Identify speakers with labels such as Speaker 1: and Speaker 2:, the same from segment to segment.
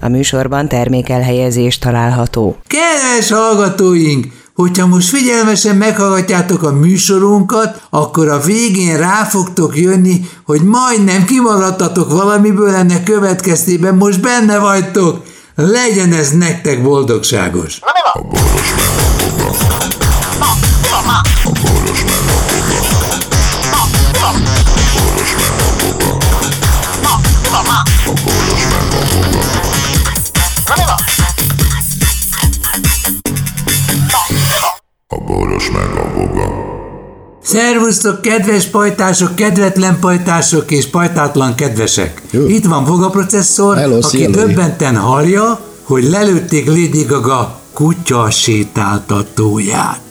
Speaker 1: A műsorban termékelhelyezés található.
Speaker 2: Kedves hallgatóink! Hogyha most figyelmesen meghallgatjátok a műsorunkat, akkor a végén rá fogtok jönni, hogy majdnem kimaradtatok valamiből ennek következtében most benne vagytok. Legyen ez nektek boldogságos!
Speaker 3: A boros meg a boga.
Speaker 2: Szervusztok, kedves pajtások, kedvetlen pajtások és pajtátlan kedvesek!
Speaker 4: Jó.
Speaker 2: Itt van fogaprocesszor,
Speaker 4: Hello,
Speaker 2: aki
Speaker 4: szia, Lori.
Speaker 2: döbbenten hallja, hogy lelőtték Lady Gaga kutya sétáltatóját.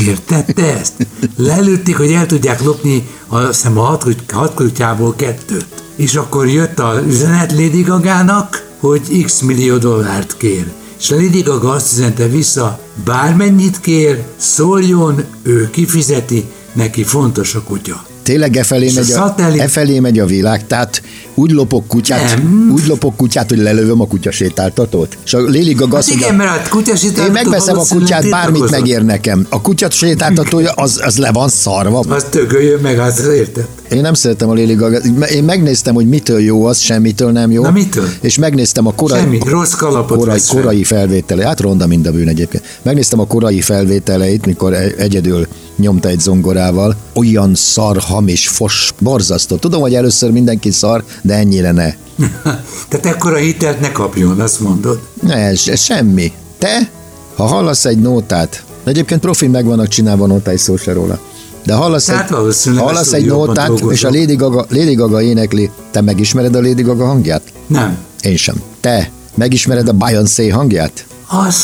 Speaker 2: Érted te ezt? Lelőtték, hogy el tudják lopni azt hiszem a hat, kut- hat kutyából kettőt. És akkor jött a üzenet Lady Gagának, hogy x millió dollárt kér. És Lady Gaga azt üzente vissza, bármennyit kér, szóljon, ő kifizeti, neki fontos a kutya.
Speaker 4: Tényleg e felé,
Speaker 2: És a
Speaker 4: megy a,
Speaker 2: szatellit-
Speaker 4: e felé megy a világ, tehát úgy lopok kutyát,
Speaker 2: Nem.
Speaker 4: úgy lopok kutyát, hogy lelövöm a kutya sétáltatót. És a Lili Gaga
Speaker 2: Hát
Speaker 4: azt mondja,
Speaker 2: igen, mert a kutyasítás...
Speaker 4: én megveszem a kutyát, bármit megér nekem. A kutyat sétáltatója, az, az le van szarva.
Speaker 2: Az tököljön meg, az érted?
Speaker 4: Én nem szeretem a Lili Gaga. Én megnéztem, hogy mitől jó az, semmitől nem jó.
Speaker 2: Na, mitől?
Speaker 4: És megnéztem a korai,
Speaker 2: Semmi, rossz kalapot
Speaker 4: korai,
Speaker 2: vesz fel.
Speaker 4: korai felvétele. Hát ronda mind a bűn egyébként. Megnéztem a korai felvételeit, mikor e- egyedül nyomta egy zongorával. Olyan szar, hamis, fos, borzasztó. Tudom, hogy először mindenki szar, de ennyire ne.
Speaker 2: Tehát ekkora hitelt ne kapjon, azt mondod.
Speaker 4: Ne, ez, ez semmi. Te, ha hallasz egy nótát, egyébként profin meg vannak csinálva nótái szó se róla. De hallasz
Speaker 2: Tehát
Speaker 4: egy,
Speaker 2: valószínűleg a
Speaker 4: hallasz egy
Speaker 2: stúdióban
Speaker 4: nótát,
Speaker 2: dolgozol.
Speaker 4: és a Lady Gaga, Lady Gaga énekli. Te megismered a Lady Gaga hangját?
Speaker 2: Nem.
Speaker 4: Én sem. Te megismered a Beyoncé hangját?
Speaker 2: Az,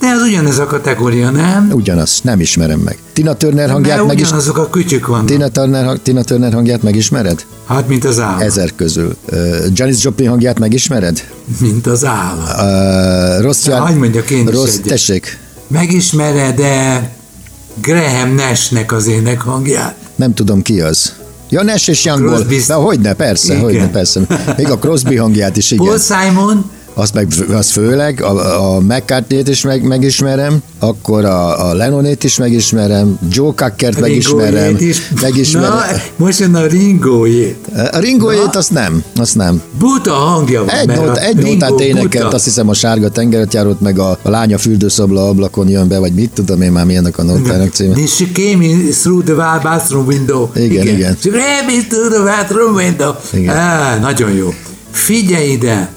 Speaker 2: de az ugyanez a kategória, nem?
Speaker 4: Ugyanaz, nem ismerem meg. Tina Turner
Speaker 2: Mert
Speaker 4: hangját meg is...
Speaker 2: ugyanazok a kütyük vannak.
Speaker 4: Tina Turner, hang- Tina Turner hangját megismered?
Speaker 2: Hát, mint az állat.
Speaker 4: Ezer közül. Uh, Janis Joplin hangját megismered?
Speaker 2: Mint az állat.
Speaker 4: Uh, rossz
Speaker 2: Na, hagyd mondjak én is
Speaker 4: rossz,
Speaker 2: egyet.
Speaker 4: Tessék,
Speaker 2: Megismered-e Graham Nashnek az ének hangját?
Speaker 4: nem tudom ki az. Ja, Nash és Youngból.
Speaker 2: Crosby-
Speaker 4: De hogyne, persze,
Speaker 2: Igen.
Speaker 4: hogyne, persze. Még a Crosby hangját is, igen.
Speaker 2: Paul Simon?
Speaker 4: Azt meg, az főleg, a, a McCartney-t is meg, megismerem, akkor a, a Lennonét is megismerem, Joe Cockert megismerem,
Speaker 2: Ringójét is.
Speaker 4: megismerem.
Speaker 2: Na, most jön a ringójét.
Speaker 4: A ringójét azt nem, azt nem.
Speaker 2: Buta hangja van.
Speaker 4: Egy,
Speaker 2: mert
Speaker 4: nót,
Speaker 2: a
Speaker 4: egy
Speaker 2: Ringo
Speaker 4: nótát énekelt,
Speaker 2: buta.
Speaker 4: azt hiszem a sárga tengeret járót, meg a, a lánya fürdőszobla ablakon jön be, vagy mit tudom én már milyenek a nótának címe.
Speaker 2: Then she came in through the wa- bathroom window.
Speaker 4: Igen, igen.
Speaker 2: She came in through the bathroom window.
Speaker 4: Igen.
Speaker 2: Á, nagyon jó. Figyelj ide!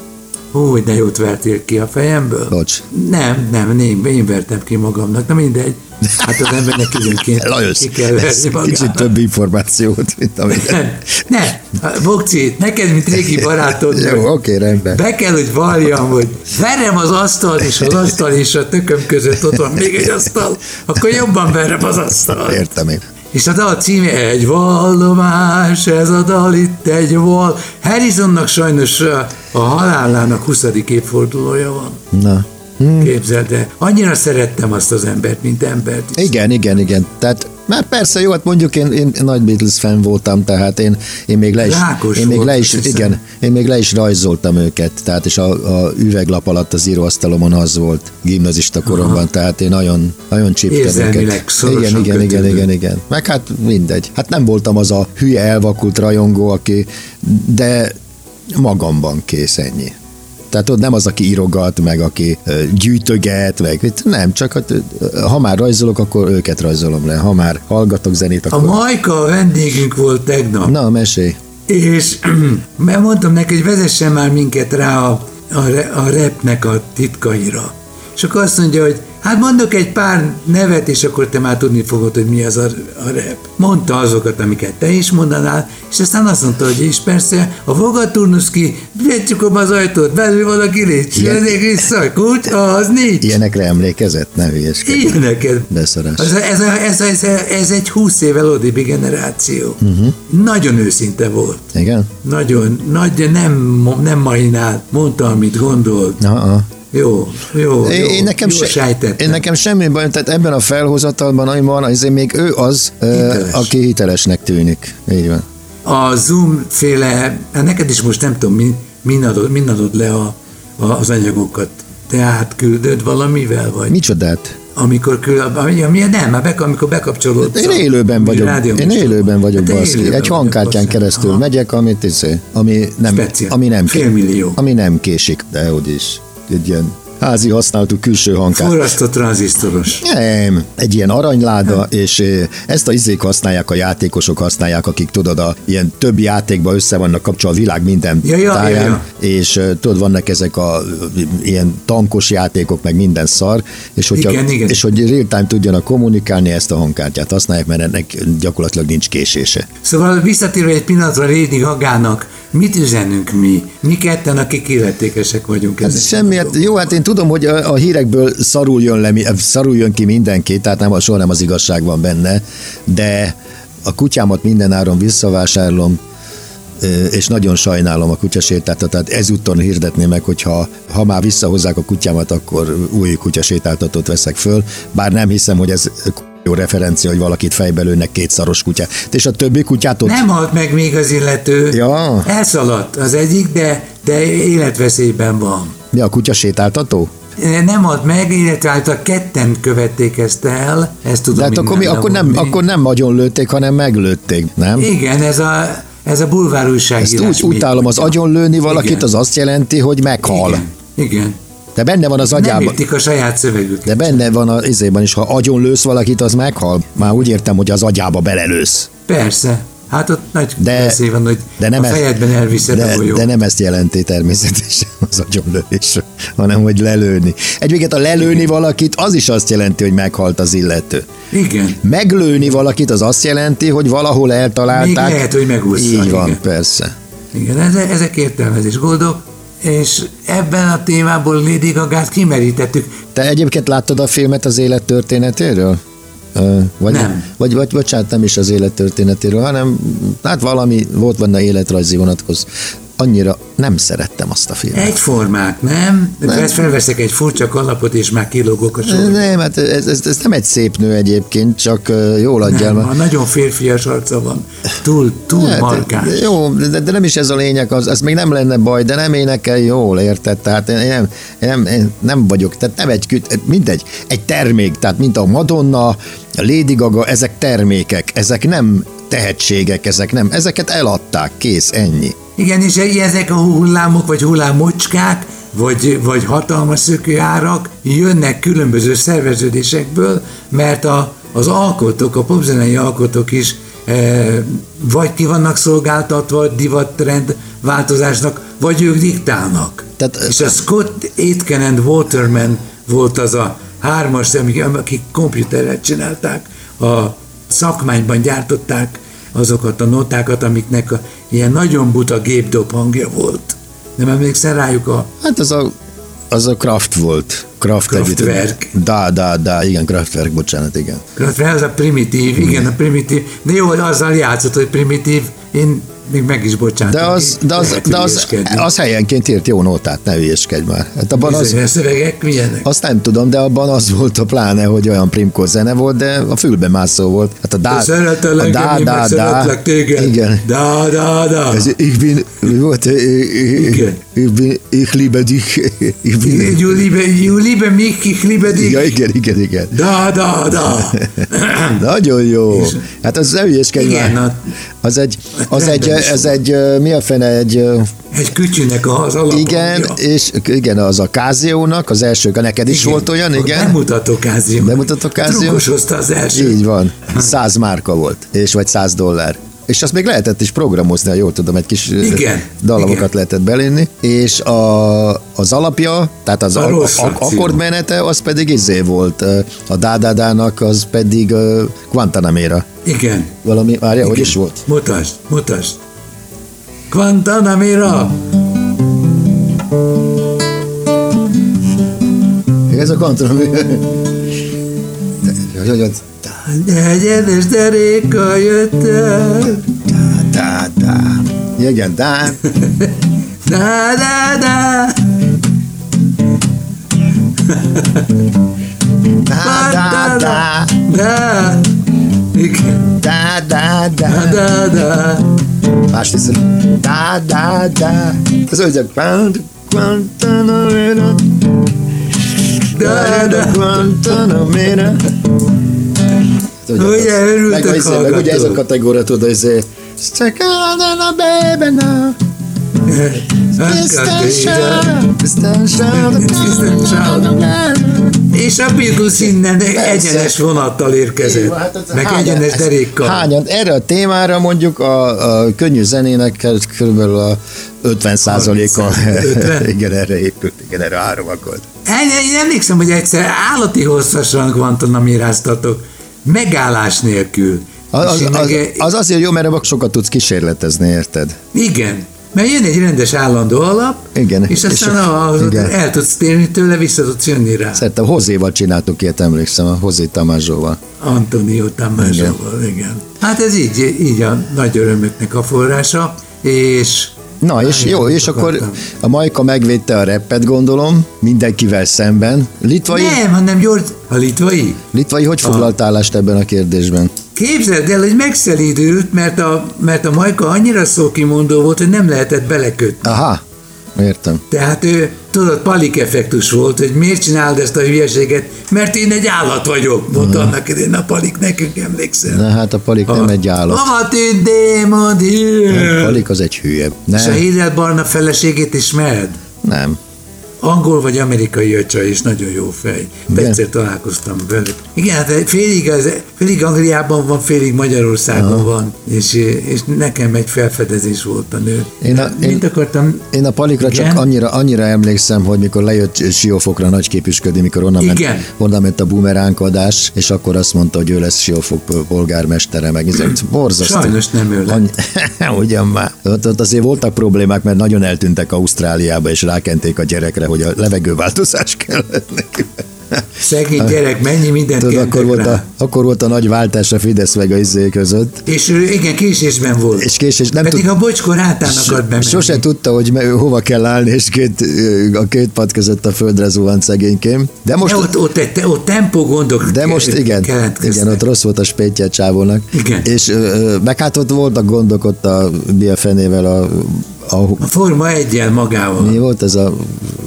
Speaker 2: Hú, de jót vertél ki a fejemből.
Speaker 4: Bocs.
Speaker 2: Nem, nem, én, én vertem ki magamnak, na mindegy. Hát az embernek időnként
Speaker 4: Lajos,
Speaker 2: ki kell
Speaker 4: ez
Speaker 2: verni magát.
Speaker 4: kicsit több információt, mint amit.
Speaker 2: Nem, ne, Bokci, neked, mint régi barátod,
Speaker 4: Jó, oké, rendben.
Speaker 2: be kell, hogy valljam, hogy verem az asztal és az asztal és a tököm között ott van még egy asztal, akkor jobban verem az asztal.
Speaker 4: Értem én.
Speaker 2: És a dal címe egy vallomás, ez a dal itt egy val. Harrisonnak sajnos a, a halálának 20. évfordulója van.
Speaker 4: Na.
Speaker 2: Képzeld el. Annyira szerettem azt az embert, mint embert.
Speaker 4: Igen, igen, igen. Tehát már persze jó, hát mondjuk én, én nagy Beatles fan voltam, tehát én, én még le is,
Speaker 2: Rákos
Speaker 4: én még
Speaker 2: volt,
Speaker 4: le is,
Speaker 2: azt hiszem.
Speaker 4: igen, én még le is rajzoltam őket, tehát és a, a üveglap alatt az íróasztalomon az volt gimnazista koromban, Aha. tehát én nagyon, nagyon csíptem
Speaker 2: Érzelmileg
Speaker 4: őket.
Speaker 2: szorosan
Speaker 4: Igen, igen, igen,
Speaker 2: kötődő.
Speaker 4: igen, igen. Meg hát mindegy. Hát nem voltam az a hülye elvakult rajongó, aki, de magamban kész ennyi. Tehát ott nem az, aki írogat, meg aki ö, gyűjtöget, meg itt nem, csak hát, ö, ha már rajzolok, akkor őket rajzolom le. Ha már hallgatok zenét,
Speaker 2: A
Speaker 4: akkor...
Speaker 2: Majka a vendégünk volt tegnap.
Speaker 4: Na, mesélj.
Speaker 2: És mert mondtam neki, hogy vezessen már minket rá a, a, re- a repnek a titkaira. És akkor azt mondja, hogy hát mondok egy pár nevet, és akkor te már tudni fogod, hogy mi az a, a rep. Mondta azokat, amiket te is mondanál, és aztán azt mondta, hogy és persze a Vogaturnuszki, vetjük az ajtót, belül van a kilincs,
Speaker 4: Ilyen-
Speaker 2: jöjjék vissza, kutya, az nincs.
Speaker 4: Ilyenekre emlékezett? Ne hülyeskedj.
Speaker 2: Ilyeneket.
Speaker 4: Beszarás.
Speaker 2: Ez, ez, ez, ez, ez egy 20 évvel odébi generáció. Uh-huh. Nagyon őszinte volt
Speaker 4: Igen?
Speaker 2: nagyon nagy, nem, nem mainál, mondta, amit gondolt.
Speaker 4: Aha.
Speaker 2: Jó, jó,
Speaker 4: Én,
Speaker 2: jó,
Speaker 4: én, nekem
Speaker 2: jó
Speaker 4: se,
Speaker 2: sejtettem.
Speaker 4: én nekem semmi baj, tehát ebben a felhozatalban, ami van, azért még ő az, ö,
Speaker 2: Hiteles.
Speaker 4: aki hitelesnek tűnik. Így van.
Speaker 2: A Zoom féle, hát neked is most nem tudom, min, min, adod, min adod le a, az anyagokat. Tehát küldöd valamivel, vagy?
Speaker 4: Micsodát?
Speaker 2: Amikor küld, ami, ami, nem, már bek, amikor bekapcsolódsz.
Speaker 4: Én
Speaker 2: a-
Speaker 4: élőben vagyok.
Speaker 2: rádió
Speaker 4: Én
Speaker 2: műsorban.
Speaker 4: élőben vagyok,
Speaker 2: te
Speaker 4: baszki.
Speaker 2: élőben
Speaker 4: Egy
Speaker 2: vagy,
Speaker 4: hangkártyán
Speaker 2: basszus.
Speaker 4: keresztül
Speaker 2: Aha.
Speaker 4: megyek, amit izé, ami nem,
Speaker 2: Speciál.
Speaker 4: ami nem,
Speaker 2: Félmillió.
Speaker 4: ami nem késik, de úgyis egy ilyen házi használatú külső hangkártya.
Speaker 2: Forrasztó tranzisztoros.
Speaker 4: Nem, egy ilyen aranyláda, és ö, ezt a izék használják, a játékosok használják, akik tudod, a ilyen több játékba össze vannak kapcsolva a világ minden
Speaker 2: Ja, ja,
Speaker 4: táján,
Speaker 2: ja, ja.
Speaker 4: és ö, tudod, vannak ezek a ö, ilyen tankos játékok, meg minden szar, és, hogyha,
Speaker 2: Igen, igen.
Speaker 4: és hogy real-time tudjanak kommunikálni, ezt a hangkártyát használják, mert ennek gyakorlatilag nincs késése.
Speaker 2: Szóval visszatérve egy pillanatra Lady Gagának, mit üzenünk mi? Mi ketten, akik illetékesek vagyunk
Speaker 4: Hát
Speaker 2: ezek.
Speaker 4: semmiért, jó, hát én tudom, hogy a, a hírekből szarul jön, le, mi- szarul jön ki mindenki, tehát nem, soha nem az igazság van benne, de a kutyámat minden áron visszavásárolom, ö, és nagyon sajnálom a kutyasétáltatót, ezúton hirdetném meg, hogyha ha már visszahozzák a kutyámat, akkor új kutyasétáltatót veszek föl, bár nem hiszem, hogy ez jó referencia, hogy valakit fejbe lőnek két szaros kutyát. És a többi kutyát ott...
Speaker 2: Nem halt meg még az illető.
Speaker 4: Ja.
Speaker 2: Elszaladt az egyik, de, de életveszélyben van.
Speaker 4: Mi a kutyasétáltató?
Speaker 2: Nem halt meg, illetve által ketten követték ezt el. Ezt tudom
Speaker 4: De hát akkor, mi,
Speaker 2: innen
Speaker 4: akkor, nem,
Speaker 2: levonni.
Speaker 4: akkor nem agyon lőtték, hanem meglőtték, nem?
Speaker 2: Igen, ez a, ez a bulvár újságírás.
Speaker 4: Ezt úgy
Speaker 2: még.
Speaker 4: utálom, az agyonlőni valakit,
Speaker 2: Igen.
Speaker 4: az azt jelenti, hogy meghal.
Speaker 2: Igen. Igen.
Speaker 4: De benne van az
Speaker 2: Nem
Speaker 4: agyában.
Speaker 2: értik a saját szövegüket.
Speaker 4: De benne van az izében is, ha agyonlősz valakit, az meghal. Már úgy értem, hogy az agyába belelősz.
Speaker 2: Persze. Hát ott nagy
Speaker 4: De-
Speaker 2: veszély van, hogy
Speaker 4: De nem, e-
Speaker 2: a fejedben elviszed a
Speaker 4: de,
Speaker 2: golyó.
Speaker 4: de nem ezt jelenti természetesen az agyonlövés, hanem hogy lelőni. Egyébként a lelőni valakit, az is azt jelenti, hogy meghalt az illető.
Speaker 2: Igen.
Speaker 4: Meglőni valakit, az azt jelenti, hogy valahol eltalálták.
Speaker 2: Még lehet, hogy megúszta,
Speaker 4: Így van,
Speaker 2: igen.
Speaker 4: persze.
Speaker 2: Igen, ezek, ezek értelmezés gondok, és ebben a témából Lady Gagát kimerítettük.
Speaker 4: Te egyébként láttad a filmet az élet történetéről? Ö, Vagy,
Speaker 2: Nem.
Speaker 4: Vagy, vagy bocsánat, nem is az élet történetéről, hanem hát valami volt benne életrajzi vonatkoz. Annyira nem szerettem azt a filmet.
Speaker 2: Egyformák, nem? nem. Ezt felveszek egy furcsa kalapot, és már kilógok a sorban.
Speaker 4: Nem, hát ez, ez, ez nem egy szép nő egyébként, csak ö, jól adja.
Speaker 2: Nem, ha nagyon férfias arca van, túl, túl hát, markáns.
Speaker 4: jó, de, de nem is ez a lényeg, az, ez még nem lenne baj, de nem énekel jól, érted? Tehát én, én, nem, én, nem, én nem vagyok, tehát nem egy, küt- mindegy, egy termék, tehát mint a Madonna, a Lady Gaga, ezek termékek, ezek nem tehetségek, ezek nem, ezeket eladták, kész, ennyi.
Speaker 2: Igen, és e- ezek a hullámok, vagy hullámmocskák, vagy, vagy hatalmas szökőárak jönnek különböző szerveződésekből, mert a, az alkotók, a popzenei alkotók is e, vagy ki vannak szolgáltatva a divatrend változásnak, vagy ők diktálnak.
Speaker 4: Tehát-
Speaker 2: és a Scott Aitken and Waterman volt az a hármas, amik, akik komputerrel csinálták, a szakmányban gyártották azokat a notákat, amiknek a, ilyen nagyon buta gépdob hangja volt. Nem emlékszel rájuk a...
Speaker 4: Hát az a, az a Kraft volt. Kraft
Speaker 2: Kraftwerk.
Speaker 4: együtt- Da, da, da, igen, Kraftwerk, bocsánat, igen.
Speaker 2: Ez a primitív, igen, a primitív. De jó, hogy azzal játszott, hogy primitív, én még meg is bocsátom.
Speaker 4: De az, de az,
Speaker 2: Lehet
Speaker 4: de az,
Speaker 2: hülyeskedni.
Speaker 4: az helyenként írt jó nótát, ne hülyeskedj már. Hát abban az,
Speaker 2: Bizonyos szövegek milyenek?
Speaker 4: Azt nem tudom, de abban az volt a pláne, hogy olyan primkó zene volt, de a fülbe mászó volt. Hát a dá,
Speaker 2: Szeretelek, én meg szeretlek téged.
Speaker 4: Igen.
Speaker 2: Da, da, da.
Speaker 4: Ez, ich bin, mi volt?
Speaker 2: Igen.
Speaker 4: Igen. Ich bin, ich liebe dich. Ich bin,
Speaker 2: You liebe, you liebe mich, ich liebe dich.
Speaker 4: ja, igen, igen, igen.
Speaker 2: Da, da, da.
Speaker 4: Nagyon jó. Hát az nem hülyeskedj
Speaker 2: Igen, Hát
Speaker 4: már.
Speaker 2: a-
Speaker 4: Az egy, az egy,
Speaker 2: rendben
Speaker 4: ez
Speaker 2: szól.
Speaker 4: egy, ö, mi a fene, egy ö,
Speaker 2: Egy kütyűnek az alapja.
Speaker 4: Igen, és igen, az a Káziónak, az első, neked is volt olyan, igen?
Speaker 2: Bemutató kázió.
Speaker 4: Bemutató kázió.
Speaker 2: Trukkos hozta az első.
Speaker 4: Így van. Száz márka volt, és vagy száz dollár. És azt még lehetett is programozni, ha jól tudom, egy kis ö,
Speaker 2: Igen,
Speaker 4: dalamokat
Speaker 2: igen.
Speaker 4: lehetett belénni. És a, az alapja, tehát az
Speaker 2: A
Speaker 4: a a,
Speaker 2: rossz
Speaker 4: a,
Speaker 2: akció.
Speaker 4: akkordmenete, az pedig izé volt. ö, A dádádának az pedig ö, Guantanamera.
Speaker 2: Igen.
Speaker 4: Valami, várja, hogy
Speaker 2: igen.
Speaker 4: is volt?
Speaker 2: Mutasd, mutasd. Guantanamera.
Speaker 4: Ez a Guantanamera. De- hogy- hogy-
Speaker 2: Egy edes deréka jött el.
Speaker 4: Dá, dá. Igen, dá.
Speaker 2: Da, da, da.
Speaker 4: Dá, dá, dá.
Speaker 2: Da. Igen.
Speaker 4: Dá, dá, dá.
Speaker 2: Da, da, da.
Speaker 4: Másrészt da da da. Az ördög Guantanamera.
Speaker 2: De, de.
Speaker 4: Guantanamera. Tudod,
Speaker 2: Ugye,
Speaker 4: az-
Speaker 2: örültek
Speaker 4: meg, izé, meg ugye ez a
Speaker 2: hallgatók.
Speaker 4: kategória, tudod, ez Csak a baby now.
Speaker 2: Hát, És a Beatles innen egyenes vonattal érkezett,
Speaker 4: hát
Speaker 2: meg egyenes derékkal.
Speaker 4: Hányan? Erre a témára mondjuk a, a könnyű zenének körülbelül a 50 százaléka.
Speaker 2: 50?
Speaker 4: igen, erre épült, igen, erre három volt.
Speaker 2: Én, én emlékszem, hogy egyszer állati hosszasan kvantonamiráztatok, megállás nélkül.
Speaker 4: Az
Speaker 2: És
Speaker 4: az,
Speaker 2: én meg-
Speaker 4: az, az azért jó, mert abban sokat tudsz kísérletezni, érted?
Speaker 2: Igen, mert jön egy rendes állandó alap,
Speaker 4: Igen,
Speaker 2: és aztán
Speaker 4: és-
Speaker 2: a,
Speaker 4: igen.
Speaker 2: el tudsz térni tőle, vissza tudsz jönni rá.
Speaker 4: Szerintem Hozéval csináltuk ilyet, emlékszem, a Hozé Tamázsóval.
Speaker 2: Antonio Tamásával, igen. Hát ez így, így a nagy örömöknek a forrása, és
Speaker 4: Na, és jó, és akkor
Speaker 2: akartam.
Speaker 4: a Majka megvédte a reppet, gondolom, mindenkivel szemben. Litvai,
Speaker 2: nem, hanem György, a litvai.
Speaker 4: Litvai hogy foglalt állást ebben a kérdésben?
Speaker 2: Képzeld el, hogy megszelídült, mert a, mert a Majka annyira szókimondó volt, hogy nem lehetett belekötni.
Speaker 4: Aha, értem.
Speaker 2: Tehát ő, tudod, palik effektus volt, hogy miért csinálod ezt a hülyeséget, mert én egy állat vagyok, mondta annak idén a palik, nekünk emlékszel.
Speaker 4: Na hát a palik nem egy állat.
Speaker 2: Avat ő démon,
Speaker 4: A palik az egy hülye.
Speaker 2: És a
Speaker 4: Nem,
Speaker 2: Hillel Barna feleségét ismered?
Speaker 4: nem.
Speaker 2: Angol vagy amerikai öcsa, és nagyon jó fej. De
Speaker 4: Igen.
Speaker 2: egyszer találkoztam velük. Igen, hát félig, az, félig Angliában van, félig Magyarországon van, és, és nekem egy felfedezés volt a nő.
Speaker 4: Én a-
Speaker 2: Mit
Speaker 4: én-
Speaker 2: akartam?
Speaker 4: Én a palikra
Speaker 2: Igen?
Speaker 4: csak annyira, annyira emlékszem, hogy mikor lejött Siófokra nagyképüsködni, mikor onnan ment,
Speaker 2: Igen.
Speaker 4: onnan ment a bumeránkadás, és akkor azt mondta, hogy ő lesz Siófok polgármestere, meg ezek borzasztó.
Speaker 2: Sajnos nem ő lett.
Speaker 4: Annyi- Ugyan már. Ott, ott azért voltak problémák, mert nagyon eltűntek Ausztráliába, és rákenték a gyerekre, hogy a levegőváltozás kellett neki.
Speaker 2: Szegény gyerek, mennyi mindent
Speaker 4: Tudod,
Speaker 2: kentek
Speaker 4: akkor volt,
Speaker 2: rá.
Speaker 4: a, akkor volt a nagy váltás a Fidesz meg a izé között,
Speaker 2: És ő igen, késésben volt.
Speaker 4: és késés nem
Speaker 2: Pedig
Speaker 4: tud,
Speaker 2: a bocskor hátán akart bemenni.
Speaker 4: Sose tudta, hogy me- hova kell állni, és két, ö, a két pad között a földre zuhant szegénykém. De most,
Speaker 2: de ott, ott, ott, ott tempó gondok
Speaker 4: de most igen, igen, ott rossz volt a spétje csávónak.
Speaker 2: Igen.
Speaker 4: És ö, ö, meg hát ott voltak gondok ott a mi a fenével, a, a,
Speaker 2: A forma egyel magával.
Speaker 4: mi volt ez a...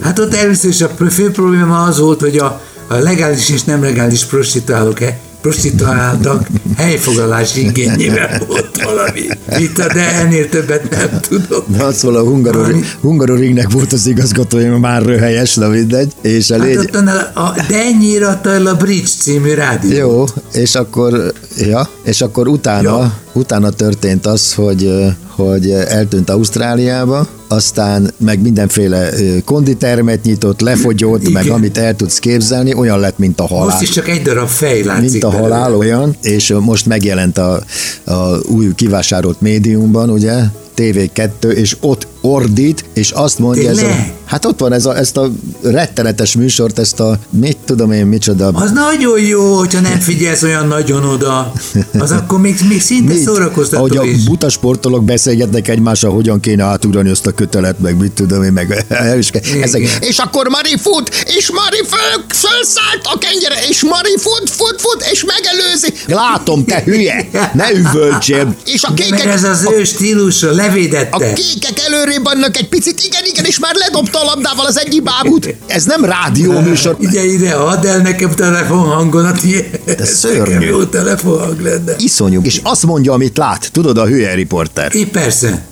Speaker 2: Hát ott először is a pr- fő probléma az volt, hogy a, a legális és nem legális prostituálok prostituáltak helyfoglalási igényével volt valami vita, de ennél többet nem Hát tudom.
Speaker 4: Na, szóval a Hungaroring, Hungaroringnek volt az igazgatója, már röhelyes, de mindegy. És a légy...
Speaker 2: Hát ott a, a Dennyire adta el a Bridge című rádió.
Speaker 4: Jó, és akkor, ja, és akkor utána,
Speaker 2: Ja.
Speaker 4: utána történt az, hogy, ö, hogy eltűnt Ausztráliába, aztán meg mindenféle ö, konditermet nyitott, lefogyott, Igen. meg
Speaker 2: Igen.
Speaker 4: amit el tudsz képzelni, olyan lett, mint a halál.
Speaker 2: Most is csak egy darab fej látszik.
Speaker 4: Mint a
Speaker 2: belőle.
Speaker 4: halál olyan, és ö, most megjelent a, a új kivásárolt médiumban, ugye, TV2, és ott ordít, és azt mondja, ez a,
Speaker 2: Tényleg?
Speaker 4: hát ott van ez a, ezt a rettenetes műsort, ezt a mit tudom én, micsoda,
Speaker 2: Az nagyon jó, hogyha nem figyelsz olyan nagyon oda. Az akkor még, még szinte szórakoztató
Speaker 4: ahogy a
Speaker 2: is.
Speaker 4: buta sportolók beszélgetnek egymással, hogyan kéne átugrani azt a kötelet, meg mit tudom én, meg és,
Speaker 2: Igen.
Speaker 4: ezek. és akkor Mari fut, és Mari föl, fölszállt a kenyere, és Mari fut, fut, fut, és megelőzi. Látom, te hülye, ne üvöltsél. És a
Speaker 2: De mert
Speaker 4: kékek,
Speaker 2: ez az ő stílusa,
Speaker 4: a
Speaker 2: levédette.
Speaker 4: kékek előrébb vannak egy picit, igen, igen, és már ledobta a labdával az egyik bábút. Ez nem rádió műsor.
Speaker 2: Ide, ide, add el nekem hát telefonhangodat. De
Speaker 4: szörnyű.
Speaker 2: Jó telefonhang lenne.
Speaker 4: Iszonyú. És azt mondja, amit lát. Tudod, a hülye riporter.
Speaker 2: Én persze.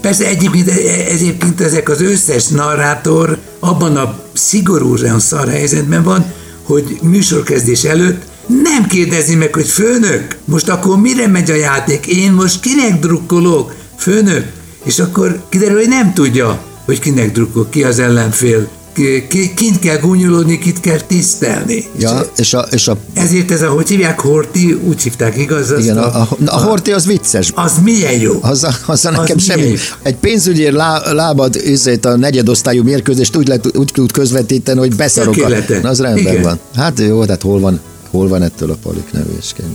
Speaker 2: Persze egyébként, e, egyébként ezek az összes narrátor abban a szigorú olyan szar helyzetben van, hogy műsorkezdés előtt nem kérdezi meg, hogy főnök, most akkor mire megy a játék? Én most kinek drukkolok? Főnök? És akkor kiderül, hogy nem tudja, hogy kinek drukkol, ki az ellenfél, ki, ki, kint kell gúnyolódni, kit kell tisztelni.
Speaker 4: Ja, és a, és a
Speaker 2: Ezért ez a, hogy hívják, Horti, úgy hívták, igaz? azt
Speaker 4: igen, a, a, a Horti az vicces.
Speaker 2: az milyen jó.
Speaker 4: Azzal, azzal nekem
Speaker 2: milyen
Speaker 4: semmi.
Speaker 2: jó.
Speaker 4: Egy pénzügyér lá, lábad üzét a negyedosztályú mérkőzést úgy, lehet, úgy tud közvetíteni, hogy beszarok. a-
Speaker 2: Tökéletes.
Speaker 4: Na, Az rendben
Speaker 2: Igen.
Speaker 4: van. Hát jó, tehát hol van, hol van ettől a palik nevéskény?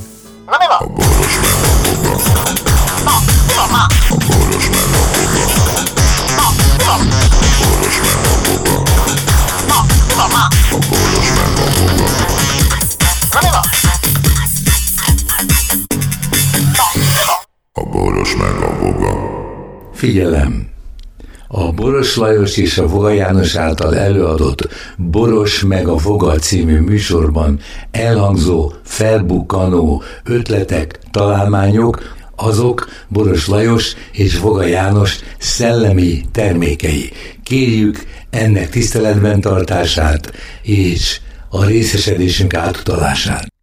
Speaker 3: A boros meg a boga.
Speaker 5: Figyelem!
Speaker 2: a Boros Lajos és a Voga János által előadott Boros meg a Voga című műsorban elhangzó, felbukkanó ötletek, találmányok, azok Boros Lajos és Voga János szellemi termékei. Kérjük ennek tiszteletben tartását és a részesedésünk átutalását.